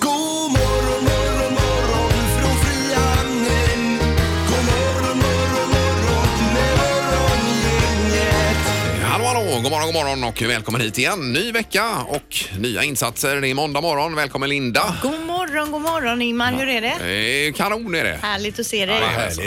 God morgon, morgon, morgon från Frihamnen. God morgon, morgon, morgon med morgongänget. Hallå, hallå! God morgon, god morgon och välkommen hit igen. Ny vecka och nya insatser. Det är måndag morgon. Välkommen Linda! God morgon, god morgon Ingmar. Hur är det? Eh, Kanon är det! Härligt att se dig. Det är alltså,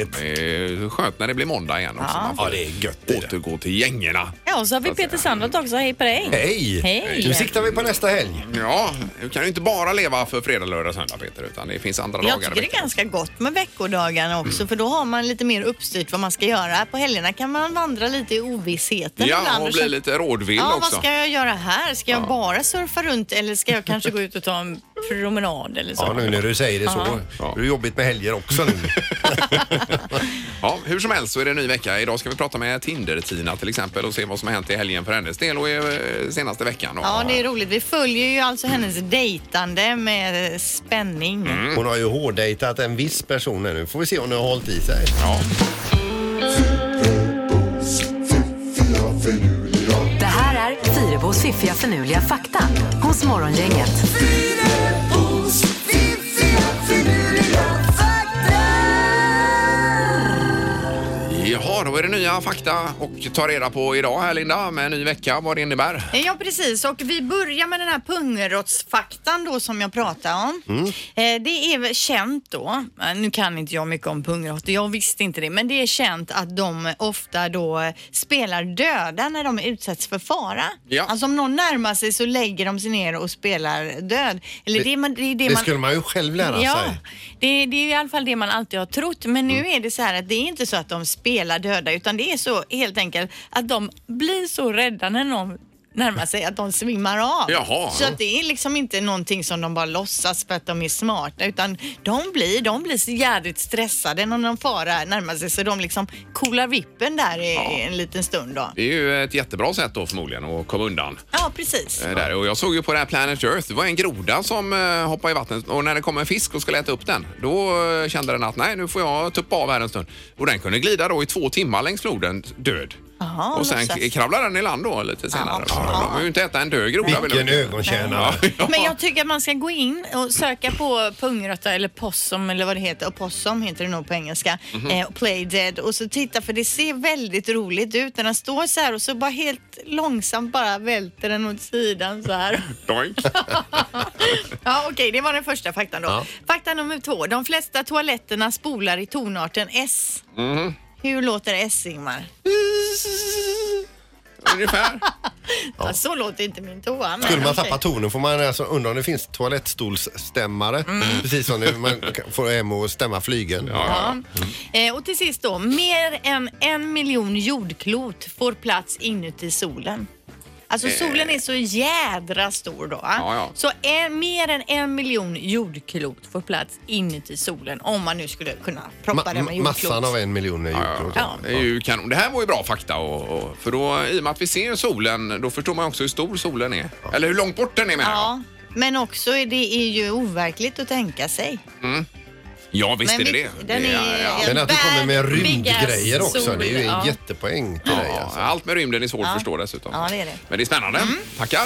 eh, skönt när det blir måndag igen också. Man får Ja, det är gött det. återgå till gängorna. Ja, och så har vi Peter Sandholt också. Hej på dig. Hej! Hej. Nu siktar vi på nästa helg. Ja, du kan ju inte bara leva för fredag, lördag, söndag Peter, utan det finns andra Jag dagar. i tycker det veckan. är ganska gott med veckodagarna också för då har man lite mer uppstyrt vad man ska göra. På helgerna kan man vandra lite i ovissheten Ja, ibland och och bli känna, lite rådvill Ja, också. vad ska jag göra här? Ska jag bara surfa runt eller ska jag kanske gå ut och ta en promenad eller så? Ja, nu när du säger det så. Ja. Det är jobbigt med helger också nu. Ja, hur som helst så är det en ny vecka. Idag ska vi prata med Tinder-Tina till exempel och se vad som har hänt i helgen för hennes del och i eh, senaste veckan. då. Ja, det är roligt. Vi följer ju alltså hennes dejtande med spänning. Hon har ju hårddejtat en viss person här nu. Får vi se om det har hållit i sig. Det här är Fyrabos fiffiga förnuliga fakta hos Morgongänget. Jaha, då är det nya fakta och ta reda på idag här Linda med en ny vecka vad det innebär. Ja precis och vi börjar med den här pungrottsfaktan då som jag pratade om. Eh, Det är väl känt då, eh, nu kan inte jag mycket om pungrottor, jag visste inte det, men det är känt att de ofta då eh, spelar döda när de utsätts för fara. Ja. Alltså om någon närmar sig så lägger de sig ner och spelar död. Eller det, det, är man- det är det Det man... skulle man ju själv lära Ja, sig. det, det är ju i alla fall det man alltid har trott. Men Mm. nu är det så här att det är inte så att de spelar döda utan det är så helt enkelt att de blir så rädda när någon närmar sig att de svimmar av. Jaha. Så att det är liksom inte någonting som de bara låtsas för att de är smarta utan de blir, de blir så jädrigt stressade när någon fara närmar sig så de liksom coolar vippen där i en liten stund då. Det är ju ett jättebra sätt då förmodligen att komma undan. Ja, precis. eh, Där. Och jag såg ju på det här Planet Earth, det var en groda som eh, hoppade i vattnet och när det kom en fisk och skulle äta upp den, då eh, kände den att nej, nu får jag tuppa av här en stund. Och den kunde glida då i två timmar längs floden, död. Jaha, och sen låtsas. k- kravlade den i land då lite senare. Ja. De vill ju inte äta en död groda. vill de Vilken inte. ögontjänare. Ja. Men jag tycker att man ska gå in och söka på pungrötta eller possum eller vad det heter. Och possum heter det nog på engelska. Mhm. eh, och play dead. Och så titta för det ser väldigt roligt ut när den står så här och så bara helt långsamt bara välter den åt sidan så här. Doink. Ja, okej, det var den första faktan då. Fakta nummer två. De flesta toaletterna spolar i tonarten S. Mhm. Hur låter S, Ingmar? Ungefär. Ja. Så låter inte min toa. men Skulle man okej. tappa tonen får man alltså undra om det finns toalettstolsstämmare. Mm. Precis som nu man kan- får hem och stämma flygen. Ja. Eh, och till sist då, mer än en miljon jordklot får plats inuti solen. Alltså solen är så jädra stor då. va? Eh. Ja, ja. Så en, mer än en miljon jordklot får plats inuti solen om man nu skulle kunna proppa Ma- den med jordklot. massan av en miljon är jordklot. Ja. Det är ju kanon. Det här var ju bra fakta. Och, och, för då, I och med att vi ser solen, då förstår man också hur stor solen är. Eller hur långt bort den är menar jag. Ja, men också är det är ju overkligt att tänka sig. Ja, visst Men är det visst, det. den Det är- ja. Men att du kommer med Bad big rymdgrejer ass också, det är ju en sol, ja. jättepoäng till dig. Ja, Alltså. allt med rymden är svårt att förstå dessutom. Ja, det Mm. är det. Men det är spännande. Tackar.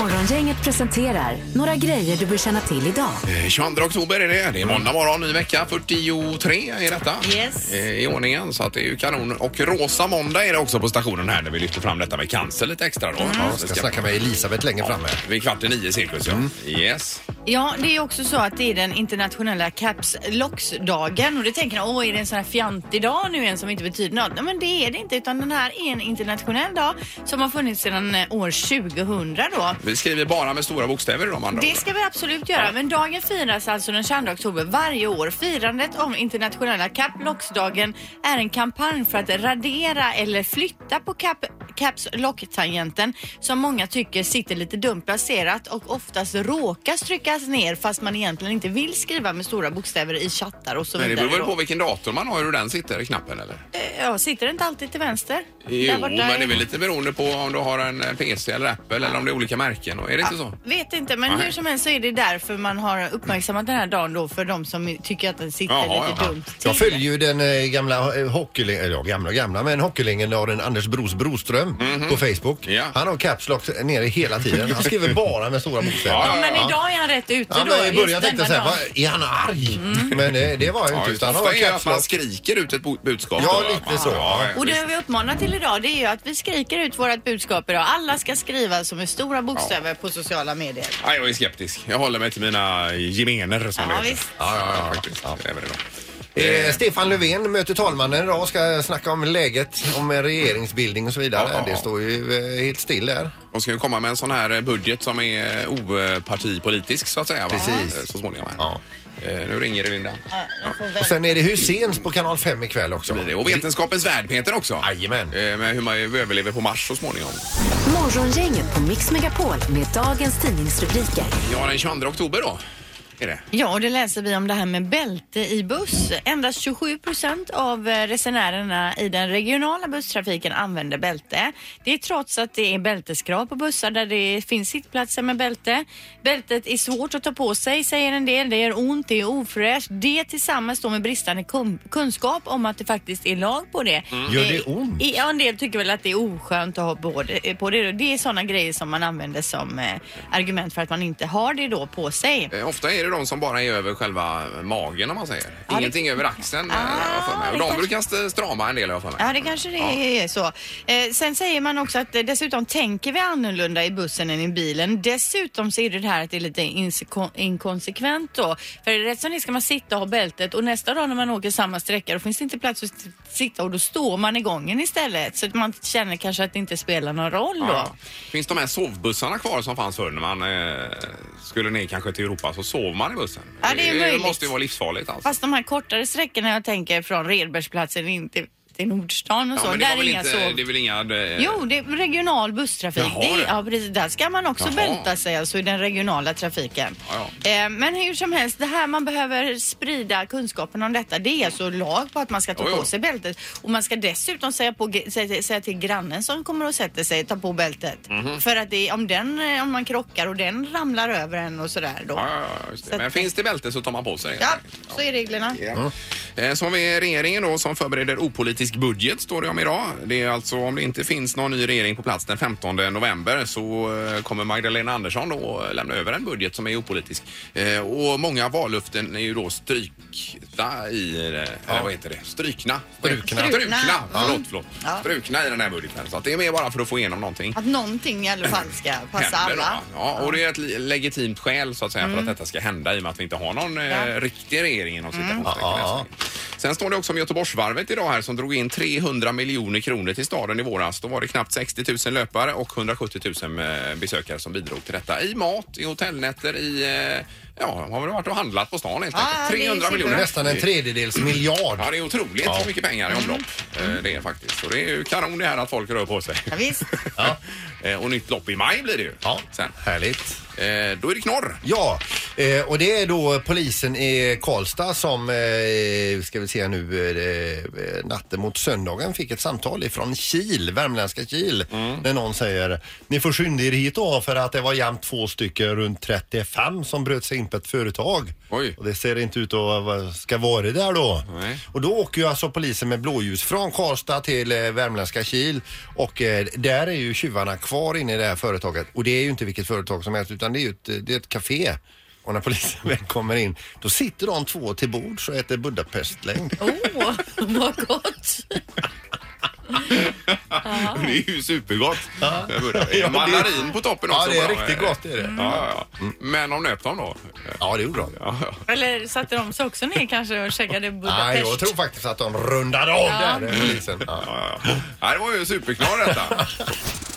Morgongänget presenterar några grejer du bör känna till idag. Eh, 22 oktober är det. Det är måndag morgon, ny vecka. 43 är detta. Yes. Eh, I ordningen, så att det är ju kanon. Och rosa måndag är det också på stationen här när vi lyfter fram detta med cancer lite extra Mm. då. Ja, det Mm. Jag ska snacka med Elisabeth längre fram här. Vid kvart i nio cirkus, ja. Yes. Ja, det är också så att det är den internationella caps locks-dagen och det tänker man, åh är det en sån här fjantig dag nu en som inte betyder något? Nej men det är det inte utan den här är en internationell dag som har funnits sedan eh, år 2000 då. Vi skriver bara med stora bokstäver idag, man. Det ska vi absolut göra, men dagen firas alltså den 22 oktober varje år. Firandet om internationella Kap Locks-dagen är en kampanj för att radera eller flytta på Kap caps lock-tangenten som många tycker sitter lite dumt placerat och oftast råkas tryckas ner fast man egentligen inte vill skriva med stora bokstäver i chattar och så Men det vidare. beror väl då. på vilken dator man har hur den sitter, knappen eller? Ja, sitter det inte alltid till vänster? Jo, Där borta men det är väl lite beroende på om du har en eh, PC eller Apple eller om det är olika märken. och- Är det Ah. inte så? Vet inte, men Nej. hur som helst så är det därför man har uppmärksammat den här dagen då för de som tycker att den sitter Jaha, lite ja. dumt till. Jag följer ju den eh, gamla eh, hockeyling, eller ja, gamla och gamla, men hockeylegendaren Anders Bros Broström på Facebook. Mhm. Ja. Han har caps lock nere hela tiden. Han skriver bara med stora bokstäver. Ja, Ja, men idag är han rätt ute Ja, då. men I just början Mm. tänkte jag denna såhär, va, dagen. är han arg? Men eh, det var han ju Ja, inte just utan det. han har Ofta är det att caps man lock. skriker ut ett bo- budskap. Ja, då, va? lite så. Ja, ja, Och visst. det vi uppmanar till idag det är ju att vi skriker ut vårt budskap idag. Alla ska skriva som med stora bokstäver på sociala medier. Ja, jag är skeptisk. Jag håller mig till mina gemener som Ja, det heter. visst. Ja, ja, ja, faktiskt. Det är väl bra. Eh, Stefan Löfven möter talmannen idag och ska snacka om läget, om en regeringsbildning och så vidare. Ja, ja, ja. Det står ju eh, helt still där. De ska ju komma med en sån här eh, budget som är eh, opartipolitisk så att säga. Va? Precis. Eh, Så småningom. här. Ja. Eh, Nu ringer det Linda. Och sen är det Husseins på kanal 5 ikväll också. Så blir det. Och Vetenskapens värld Peter också. Jajamän. Eh, Med hur man ju överlever på Mars så småningom. Morgongänget på Mix Megapol med dagens tidningsrubriker. Ja, den 22 oktober då. Är det? Ja, och det läser vi om det här med bälte i buss. Endast 27 procent av eh, resenärerna i den regionala busstrafiken använder bälte. Det är trots att det är bälteskrav på bussar där det finns sittplatser med bälte. Bältet är svårt att ta på sig, säger en del. Det gör ont, det är ofräscht. Det tillsammans då med bristande kun- kunskap om att det faktiskt är lag på det. Mm. Gör det Eh, ont? i- Ja, en del tycker väl att det är oskönt att ha på det. eh, På det. då. det är sådana grejer som man använder som eh, argument för att man inte har det då på sig. Eh, Ofta är det de som bara är över själva magen om man säger. det- Ingenting över axeln. eh, Ah, har jag för mig. det Och de kanske- brukar st- strama en del har jag för mig. Ja, det kanske det är så. Eh, sen säger man också att eh, dessutom tänker vi annorlunda i bussen än i bilen. Dessutom så är det det här att det är lite inse- inkonsekvent då. För rätt som det är ska man sitta och ha bältet och nästa dag när man åker samma sträcka då finns det inte plats att s- sitta och då står man i gången istället. Så att man känner kanske att det inte spelar någon roll då. Ja. Finns de här sovbussarna kvar som fanns förr när man eh, skulle ner kanske till Europa så sov man i bussen? Ja, det är möjligt. måste ju vara livsfarligt alltså. Fast de här kortare sträckorna jag tänker från Redbergsplatsen in till, till Nordstan och Ja, så, men det, där var är väl inga inte, sov. det är väl inga... eh, Jo, det är regional busstrafik. Jaha, det, det. är- ja, precis. Där ska man också Jaha. bälta sig alltså i den regionala trafiken. Ja, Eh, men hur som helst, det här man behöver sprida kunskapen om detta. Det är alltså lag på att man ska ta Jo, jo. på sig bältet och man ska dessutom säga, på, säga, säga till grannen som kommer och sätter sig, ta på bältet. Mhm. För att det, är- om, den, eh, om man krockar och den ramlar över en och sådär då. Ja, ja, ja, just Så det. att- Men finns det bälte så tar man på sig. Ja, så är reglerna. Ja. Eh, Så har vi regeringen då som förbereder opolitisk budget står det om idag. Det är alltså om det inte finns någon ny regering på plats den 15 november så eh, kommer Magdalena Andersson då eh, lämna över en budget som är opolitisk. Eh, Och många vallöften är ju då strykta i, eh, eller vad heter det? Strykna? Strukna. Strukna. Ja. Förlåt, förlåt. Ja. Strukna i den här budgeten. Så att det är mer bara för att få igenom någonting. Att någonting i alla fall ska passa Händer då, alla. Mm. va? Ja, och det är ett le- legitimt skäl så att säga för att detta ska hända i och med att vi inte har någon eh, Ja. Mm. riktig regering inom citationstecken. Ja, ja, Sen står det också om Göteborgsvarvet idag här som drog in 300 miljoner kronor till staden i våras. Då var det knappt 60 000 löpare och 170 000 eh, besökare som bidrog till detta. I mat, i hotellnätter, i... eh, Ja, de har väl varit och handlat på stan helt Ja, enkelt. ja, det är 300 superbra. miljoner. Nästan en tredjedels miljard. Ja, det är otroligt Ja. hur mycket pengar i Mm. omlopp eh, det är faktiskt. Och det är ju kanon det här att folk rör på sig. Ja, visst. Eh, och nytt lopp i maj blir det ju. Ja, Sen. härligt. Eh, då är det knorr. Ja, eh, och det är då polisen i Karlstad som, eh, ska vi se nu, eh, eh, natten mot söndagen fick ett samtal ifrån Kil, värmländska Kil, där någon säger ni får skynda er hit då för att det var jämt två stycken runt 35 som bröt sig in på ett företag. Oj. Och det ser inte ut att vara- ska vara där då. Nej. Och då åker ju alltså polisen med blåljus från Karlstad till eh, värmländska Kil och eh, där är ju tjuvarna kvar inne i det här företaget och det är ju inte vilket företag som helst utan det är ju ett, eh, det är ett café. Och när polisen väl kommer in då sitter de två till bord och äter budapestlängd. Åh, vad gott. Det är ju supergott. Ja. Ja, det- Mandarin på toppen Ja, också. det är på dem. riktigt gott, det är det. Ja, ja, ja. Men de nöp dem då? Ja, det gjorde de. Ja, ja. Eller satte de sig också ner kanske och käkade Budapest? Nej, jag tror faktiskt att de rundade av där, eh, polisen. Ja. Ja, ja. Nej, Det var ju superknorr detta.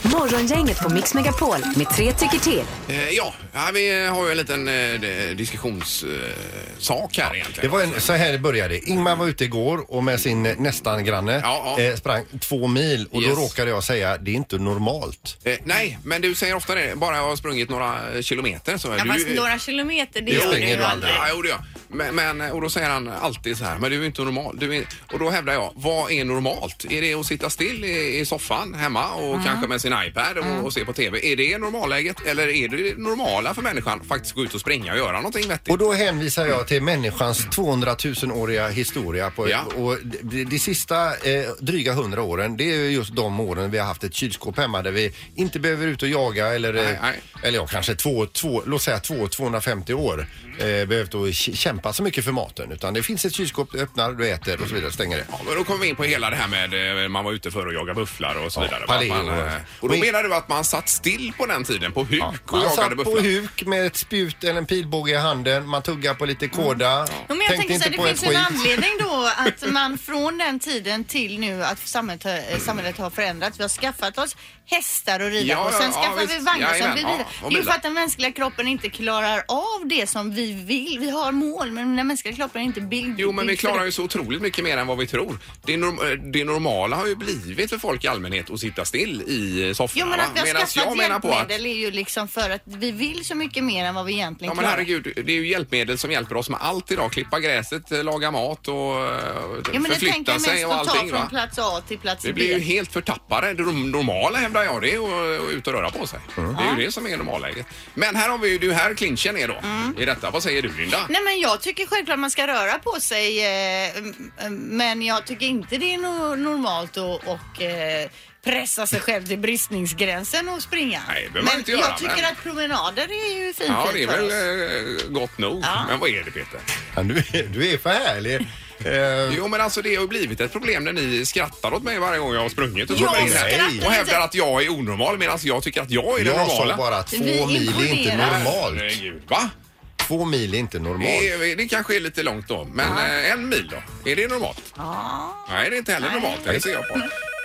Morgongänget på Mix Megapol med tre tycker till. Eh, ja, här vi har ju en liten eh, d- diskussionssak här egentligen. Det var en, så här det började. Ingmar var ute igår och med sin nästan granne Ja, ja. Eh, sprang två mil och Yes. då råkade jag säga det är inte normalt. Eh, nej, men du säger ofta det. Bara jag har sprungit några kilometer. Så Ja, du, fast några kilometer, det Det gör springer du ju du aldrig. aldrig. Ja, jo, det gör jag. men, men, och då säger han alltid så här, men du är inte normal. Du är, och då hävdar jag, vad är normalt? Är det att sitta still i, i soffan hemma och kanske med sin iPad och, och se på TV? Är det normalläget eller är det det normala för människan att faktiskt gå ut och springa och göra någonting vettigt? Och då hänvisar jag till människans 200 000-åriga historia. På, Ja. och de, de sista eh, dryga hundra åren, det är ju just de åren vi har haft ett kylskåp hemma där vi inte behöver ut och jaga eller, eh, Nej, nej. eller ja, kanske två, två, låt säga två, 250 år eh, behövt att k- kämpa så mycket för maten. Utan det finns ett kylskåp, du öppnar, du äter och så vidare, stänger det. Ja, men då kommer vi in på hela det här med eh, man var ute för att jaga bufflar och så Ja, vidare. paleo. Att man, eh, och då Men- menar du att man satt still på den tiden på huk och Man jagade satt på bufflar? huk med ett spjut eller en pilbåge i handen, man tuggade på lite kåda, Jo, men jag tänker så här, det finns ju en skit. anledning då att man från den tiden till nu att samhället, har- eh, samhället har förändrats. Vi har skaffat oss hästar att rida Ja, på. Sen ja, skaffar ja, vi visst. vagnar som Jajamän, blir ja, vidare. och Det är ju bilar. för att den mänskliga kroppen inte klarar av det som vi vill. Vi har mål men den mänskliga kroppen är inte byggd Jo, men vi byggd för klarar det. ju så otroligt mycket mer än vad vi tror. Det, norm- eh, det normala har ju blivit för folk i allmänhet att sitta still i eh, sofforna. Jo men va? att vi har Medan skaffat jag menar på att hjälpmedel är ju liksom för att vi vill så mycket mer än vad vi egentligen Ja men klarar. herregud, det är ju hjälpmedel som hjälper oss med allt idag. Klippa gräset, eh, laga mat och eh, Ja, men det tänker förflytta jag sig mest och att ta allting. från Va? plats A till plats Vi B. blir ju helt förtappade. Det normala hävdar jag det är att att ut och röra på sig. Det är ju det som är normalläget. Men här har vi ju du här clinchen är då i detta. Vad säger du Linda? Mm. Nej men jag tycker självklart man ska röra på sig eh, m- m- men jag tycker inte det är no- normalt att och, eh, pressa sig själv till bristningsgränsen och springa. Nej, det behöver man men inte göra, jag tycker men- att promenader är ju fint Ja, det är för oss. väl eh, gott nog. Ja. Men vad är det Peter? Ja, du, är- du är för härlig. Eh, Jo men alltså det har ju blivit ett problem när ni skrattar åt mig varje gång jag har sprungit och Jag kommer in skrattar här inte. och hävdar att jag är onormal medan jag tycker att jag är det Jag normala. sa bara att två Vi mil är inte imponerar. normalt. Herregud, Va? Två mil är inte Det, normalt. är- det kanske är lite långt då, men eh, en mil då? Är det normalt? Ja. Nej, det är inte heller normalt. Det ser jag på.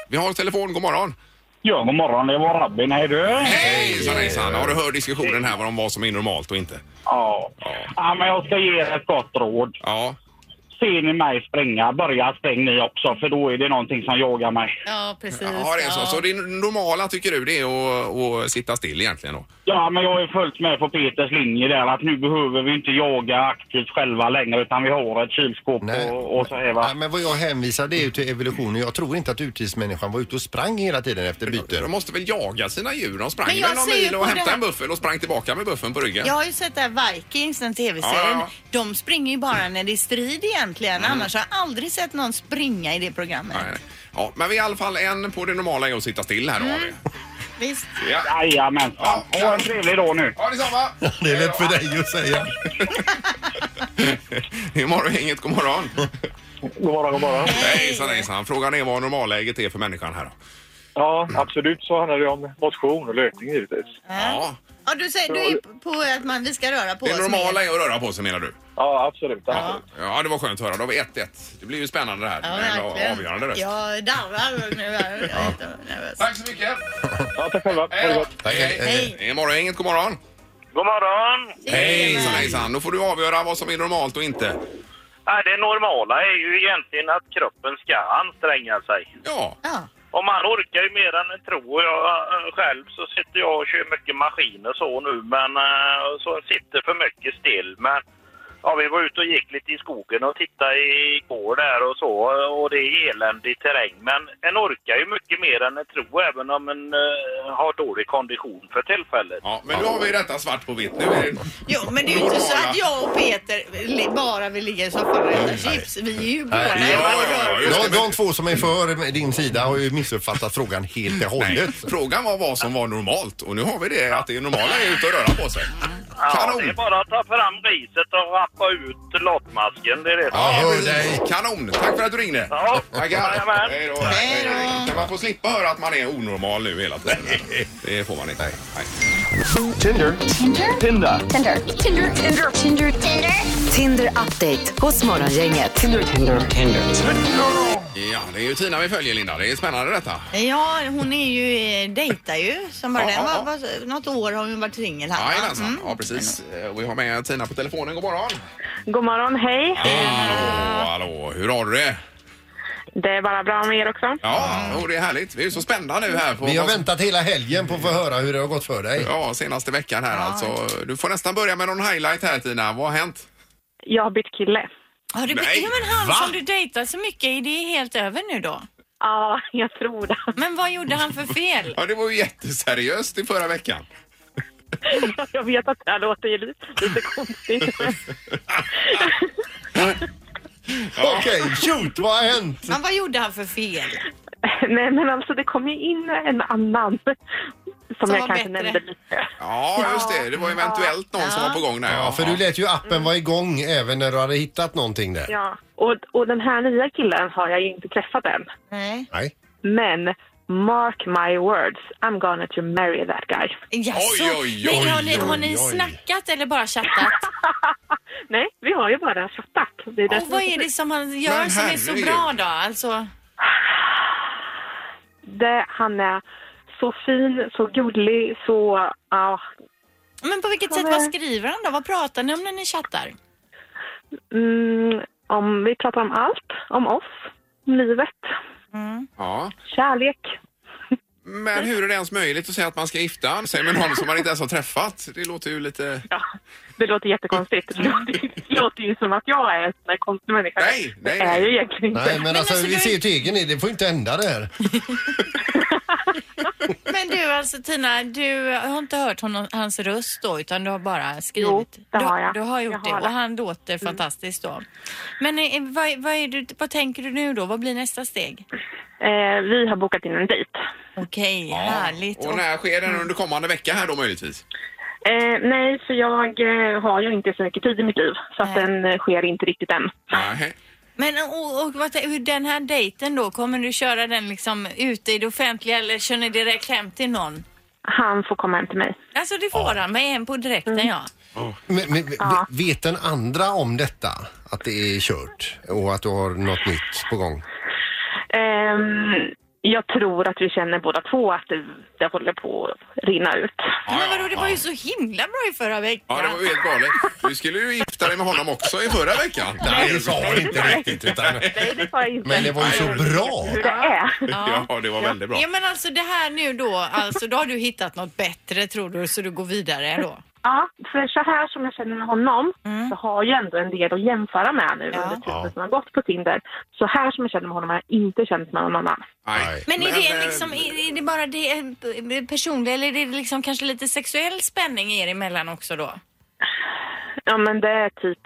Vi har telefon, god morgon. Ja, god morgon. Det var Robin. Hej du. Hejsan, hejsan. Har du hört diskussionen här om vad som är normalt och inte? Ja. ja, men jag ska ge er ett gott råd. Ja, Ser ni mig springa, börja spring ni också för då är det någonting som jagar mig. ja, precis. ja det är så. Så det normala tycker du det är att, att sitta still egentligen då? Ja, men jag är fullt med på Peters linje där att nu behöver vi inte jaga aktivt själva längre utan vi har ett kylskåp Nej. och, och så här va. Nej, men vad jag hänvisar det är ju till evolutionen. Jag tror inte att urtidsmänniskan var ute och sprang hela tiden efter De byten. måste väl jaga sina djur? De sprang Men väl jag någon ser ju mil och på det hämtade här- en buffel och sprang tillbaka med buffeln på ryggen? Jag har ju sett det här Vikings, den Ja, tv-serien. ja, ja. De springer ju bara när det är strid egentligen. Annars har jag aldrig sett någon springa i det programmet. Nej, nej. Ja, men vi är i alla fall en på det normala är att sitta still här då. har vi. Visst? Ja, Jajamensan. Ja. Ha en trevlig dag nu. ja detsamma! Det är lätt för dig att säga. Det är morgongänget, god morgon! God morgon, god morgon. Hejsan hejsan! Frågan är vad normalläget är för människan här då. Ja, absolut så handlar det om motion och löpning givetvis. Ja, Ja, du säger du är på att man, vi ska röra på det oss normala mer. är att röra på sig menar du? Ja, absolut. Ja, absolut. det var skönt att höra. Då har vi 1-1. Det blir ju spännande det här. Ja, Med verkligen. avgörande röst. Jag darrar nu. här. Jag är inte nervös. Tack så mycket! Ja, tack själva. Ha Hej det då! gott. Tack, Hej, hej. hej! Det är morgongänget, god morgon! God morgon. Hejsan hejsan! Då får du avgöra vad som är normalt och inte. Nej, det normala är ju egentligen att kroppen ska anstränga sig. Ja, Ja. Och man orkar ju mer än en tror. Jag eh, själv så sitter jag och kör mycket maskiner så nu, men eh, så sitter för mycket still. Men ja, vi var ute och gick lite i skogen och tittade igår där och så och det är eländig terräng. Men en orkar ju mycket mer än en tror även om en eh, har dålig kondition för tillfället. ja men nu har vi detta svart på vitt. Nu är det... Jo, men det är ju inte så att jag och Peter li- bara vill ligga i soffan och äta chips. Vi är ju båda Nej. Ja, hemma och ja, ja, rör just det, De, de två som är för din sida har ju missuppfattat frågan helt och Nej, hållet. frågan var vad som var normalt och nu har vi det att det normala är ut och röra på sig. Ja, det är Kanon! bara att ta fram riset och rappa ut latmasken. Det är det som Ja, är. hör precis. dig. Kanon! Tack för att du ringde. Ja, Tackar! jajamän. Hej då. Hej då. Kan man få slippa höra att man är onormal nu hela tiden? Det får man inte. Nej. Tinder update hos Morgongänget. Ja, Ja, det är ju Tina vi följer, Linda. Det är spännande detta. Ja, hon är ju, eh, dejtar ju som bara Ja, den. ja, Var, var, något år har hon varit singel här. va? Mm. Jajamensan. Ja, precis. Eh, Vi har med Tina på telefonen. God morgon. God morgon, hej. Hallå, hallå. Hur har du det? Det är bara bra med er också. Ja, jo, det är härligt. Vi är ju så spända nu här. På Vi har vad som- väntat hela helgen på att få höra hur det har gått för dig. Ja, senaste veckan här alltså. Du får nästan börja med någon highlight här Tina. Vad har hänt? Jag har bytt kille. Har du Nej, Nej. Ja, men han va? som du dejtar så mycket, är det helt över nu då? Ja, jag tror det. Men vad gjorde han för fel? Ja, det var ju jätteseriöst i förra veckan. Jag vet att det här låter ju lite, lite konstigt. men- Okej, shoot, vad har hänt? Men vad gjorde han för fel? Nej, men alltså det kom ju in en annan som, Som var jag kanske bättre. nämnde lite. Ja, just det. Det var eventuellt någon som var på gång där. Ja, Mm. för du lät ju appen vara igång även när du hade hittat någonting där. Ja. Och, och den här nya killen har jag ju inte träffat än. Nej. Nej. Men mark my words, I'm gonna to marry that guy. Jaså? Oj, oj, Men oj, har ni, har oj, ni oj. snackat eller bara chattat? Nej, vi har ju bara chattat. Det är Och vad är det som han gör Men som är så herregud. bra då? Alltså, det, han är så fin, så gullig, så... ja. men på vilket sätt, men- vad skriver han då? Vad pratar ni om när ni chattar? Mm, om vi pratar om allt, om oss, om livet, Ja. kärlek. Men hur är det ens möjligt att säga att man ska gifta sig med någon som man inte ens har träffat? Det låter ju lite... Ja, det låter jättekonstigt. Det låter, det låter ju som att jag är en sån där konstig människa. Nej, nej, det är nej. ju egentligen inte. Nej, men alltså alltså, vi du- ser ju tegen i, det får inte hända det här. Men du alltså Tina, du har inte hört honom, hans röst då utan du har bara skrivit? Jo, det har jag. Du, du har gjort Jag har det Mm. och det. han låter fantastiskt då. Men eh, vad, vad, är du, vad tänker du nu då? Vad blir nästa steg? Eh, vi har bokat in en dejt. Okej, härligt. Och när sker den under kommande vecka här då möjligtvis? Eh, nej, för jag eh, har ju inte så mycket tid i mitt liv, så att Nej. den eh, sker inte riktigt än. Nej. Men och, och vad, tän- hur den här dejten då, kommer du köra den liksom ute i det offentliga eller kör ni direkt hem till någon? Han får komma hem till mig. Alltså det får han, med en på direkten ja. Men, men, Vet den andra om detta? Att det är kört och att du har något nytt på gång? Ehm, jag tror att vi känner båda två att det, det håller på att rinna ut. Men vadå, det var ju så himla bra i förra veckan. Ja, det var ju helt galet. Du skulle ju gifta dig med honom också i förra veckan. Nej, det sa hon inte riktigt. Utan, Nej, det sa jag inte. men det var ju så bra. Hur det är. Ja, det var väldigt bra. Ja men alltså det här nu då, alltså då har du hittat något bättre tror du så du går vidare då? Ja, för så här som jag känner med honom så har jag ändå en del att jämföra med nu under tiden som har gått på Tinder. Så här som jag känner med honom har jag inte känt med någon annan. Nej. Men är det eh, liksom, är, är det bara det eh, personliga eller är det liksom kanske lite sexuell spänning er emellan också då? Ja, men det är typ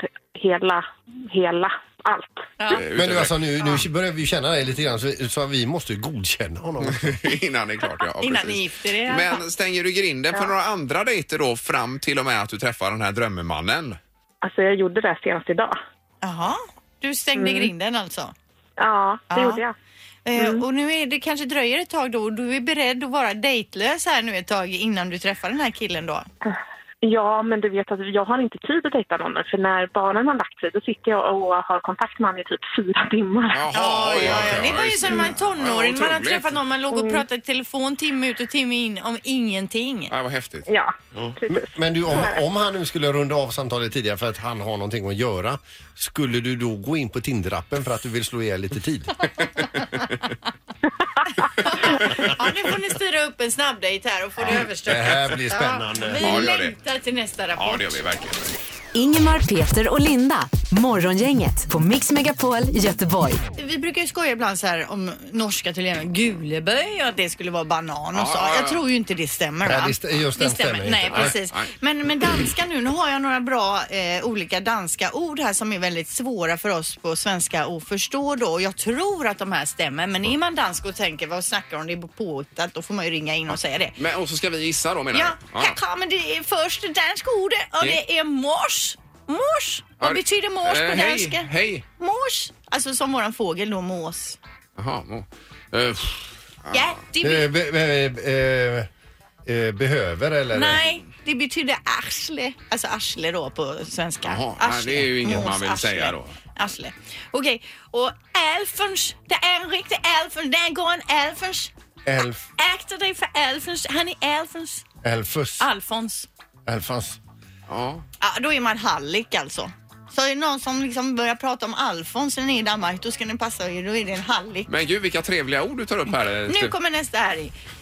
hela, hela, allt. Ja. Men du, alltså, nu, nu börjar vi ju känna dig lite grann så, så vi måste ju godkänna honom. Innan det är klart, ja. Innan precis. ni gifter er, i alla Men stänger du grinden för några andra dejter då fram till och med att du träffar den här drömmemannen? Alltså jag gjorde det senast idag. Jaha, du stängde grinden alltså? Ja, det Ja. gjorde jag. Eh, Mm. Och nu är det kanske dröjer ett tag då och du är beredd att vara dejtlös här nu ett tag innan du träffar den här killen då? Ja, men du vet att jag har inte tid att dejta någon nu, för när barnen har lagt sig då sitter jag och har kontakt med honom i typ fyra timmar. Jaha, ja, ja, ja. Det var ju just som när man är tonåring, Ja, man har otroligt. Mm. träffat någon man låg och pratade i telefon timme ut och timme in om ingenting. Ja, vad häftigt. Ja, precis. Men du, om, om han nu skulle runda av samtalet tidigare för att han har någonting att göra, skulle du då gå in på Tinder-appen för att du vill slå ihjäl lite tid? Ja, nu får ni styra upp en snabbdejt här och få det Det överstökat. här blir spännande. Vi Ja, gör det. längtar till nästa rapport. Ja, det gör vi verkligen. Ingemar, Peter och Linda. Morgongänget på Mix Megapol Göteborg. Vi brukar ju skoja ibland så här om norska tydligen guleböj och att det skulle vara banan och Ja, så. ja, ja. Jag tror ju inte det stämmer Nej, va? det stä- just den stämmer inte. Nej, Nej, precis. nej. Men, men danska nu, nu har jag några bra eh, olika danska ord här som är väldigt svåra för oss på svenska att förstå då. Och Jag tror att de här stämmer men är man dansk och tänker vad snackar de om, det är påhittat, då får man ju ringa in och säga det. Men, och så ska vi gissa då menar Ja, du? här kommer det första danska ordet och det är mors. Mors. Ja, Vad det- betyder mors Eh, på hej, danska? hej. Mors. Alltså som våran fågel då, mås. Jaha. må- Eh, Ja, det be- Eh, be, be, eh, eh, behöver eller? Nej, det betyder arsle. Alltså arsle då på svenska. Jaha, nej, det är ju inget man vill Måsarsle. säga då. Asle. Okej, och Alfons, det är en riktig Alfons, där går en Alfons. Elf, Akta dig för Alfons, han är Alfons. Elfus, Ah. Alfons. Elfons. Ja. Ja, då är man hallick alltså. Så är det någon som liksom börjar prata om Alfons när ni är i Danmark, då ska ni passa er, då är det en hallick. Men gud vilka trevliga ord du tar upp här. eh, Nu Stefan. kommer nästa här.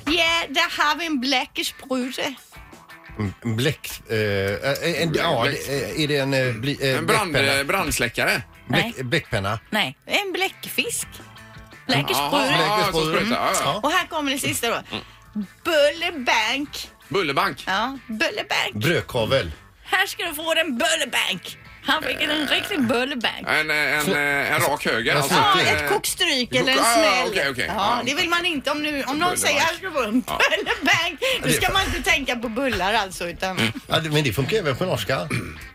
Ja, där har vi en bläckersprute. En bläck... Eh, eh, en, ja, det- eh, är det en... Eh, bli, eh, En brand, bläckpenna? eh, brandsläckare. Bläck, bläckpenna. Nej, en bläckfisk. Jaha, Bläckersprute. ja, Bläckersprut. så Mm. sprutar, ja, ja. Och här kommer det sista då. Bullerbank. Bullerbank. Ja, bullerbank. Brödkavel. Här ska du få en bullerbank. Han fick en riktig bullerbank. En, eh, en, eh, en rak höger. Ja, Alltså, Ja, eh, ett kokstryk eller en Ah, smäll. okej, okej. Ja, Ja. det vill man inte om, nu, om någon Bullerbank. säger här ska du få en bullerbank. Då ska man inte tänka på bullar alltså utan Ja, det- men det funkar även på norska.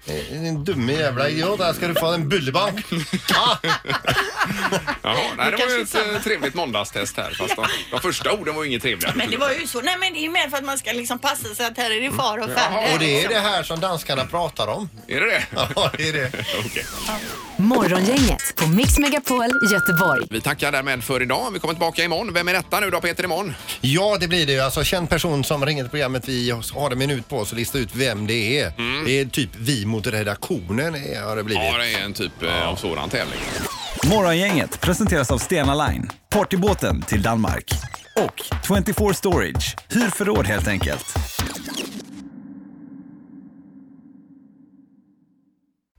Eh, En dumme jävla idiot. Här ska du få en bullebank. Ah! Jaha, nej, det var ju ett kanske är samma. eh, trevligt måndagstest här. Fast de, de första orden var ju inget trevliga. Men det var ju så. Nej men det är ju mer för att man ska liksom passa sig att här är det fara och färde. Och det är det här som danskarna pratar om. Är det det? Ja, det är det. Okej. Morgongänget på Mix Megapol Göteborg. Vi tackar därmed för idag. Vi kommer tillbaka imorgon. Vem är detta nu då Peter imorgon? Ja, det blir det. Alltså, känd person som ringer till programmet. Vi har en minut på oss att lista ut vem det är. Det är typ vi mot redaktionen eh, har det blivit. Ja, det är en typ eh, av sådan tävling. Morgongänget presenteras av Stena Line, partybåten till Danmark. Och 24 Storage, hyr förråd helt enkelt.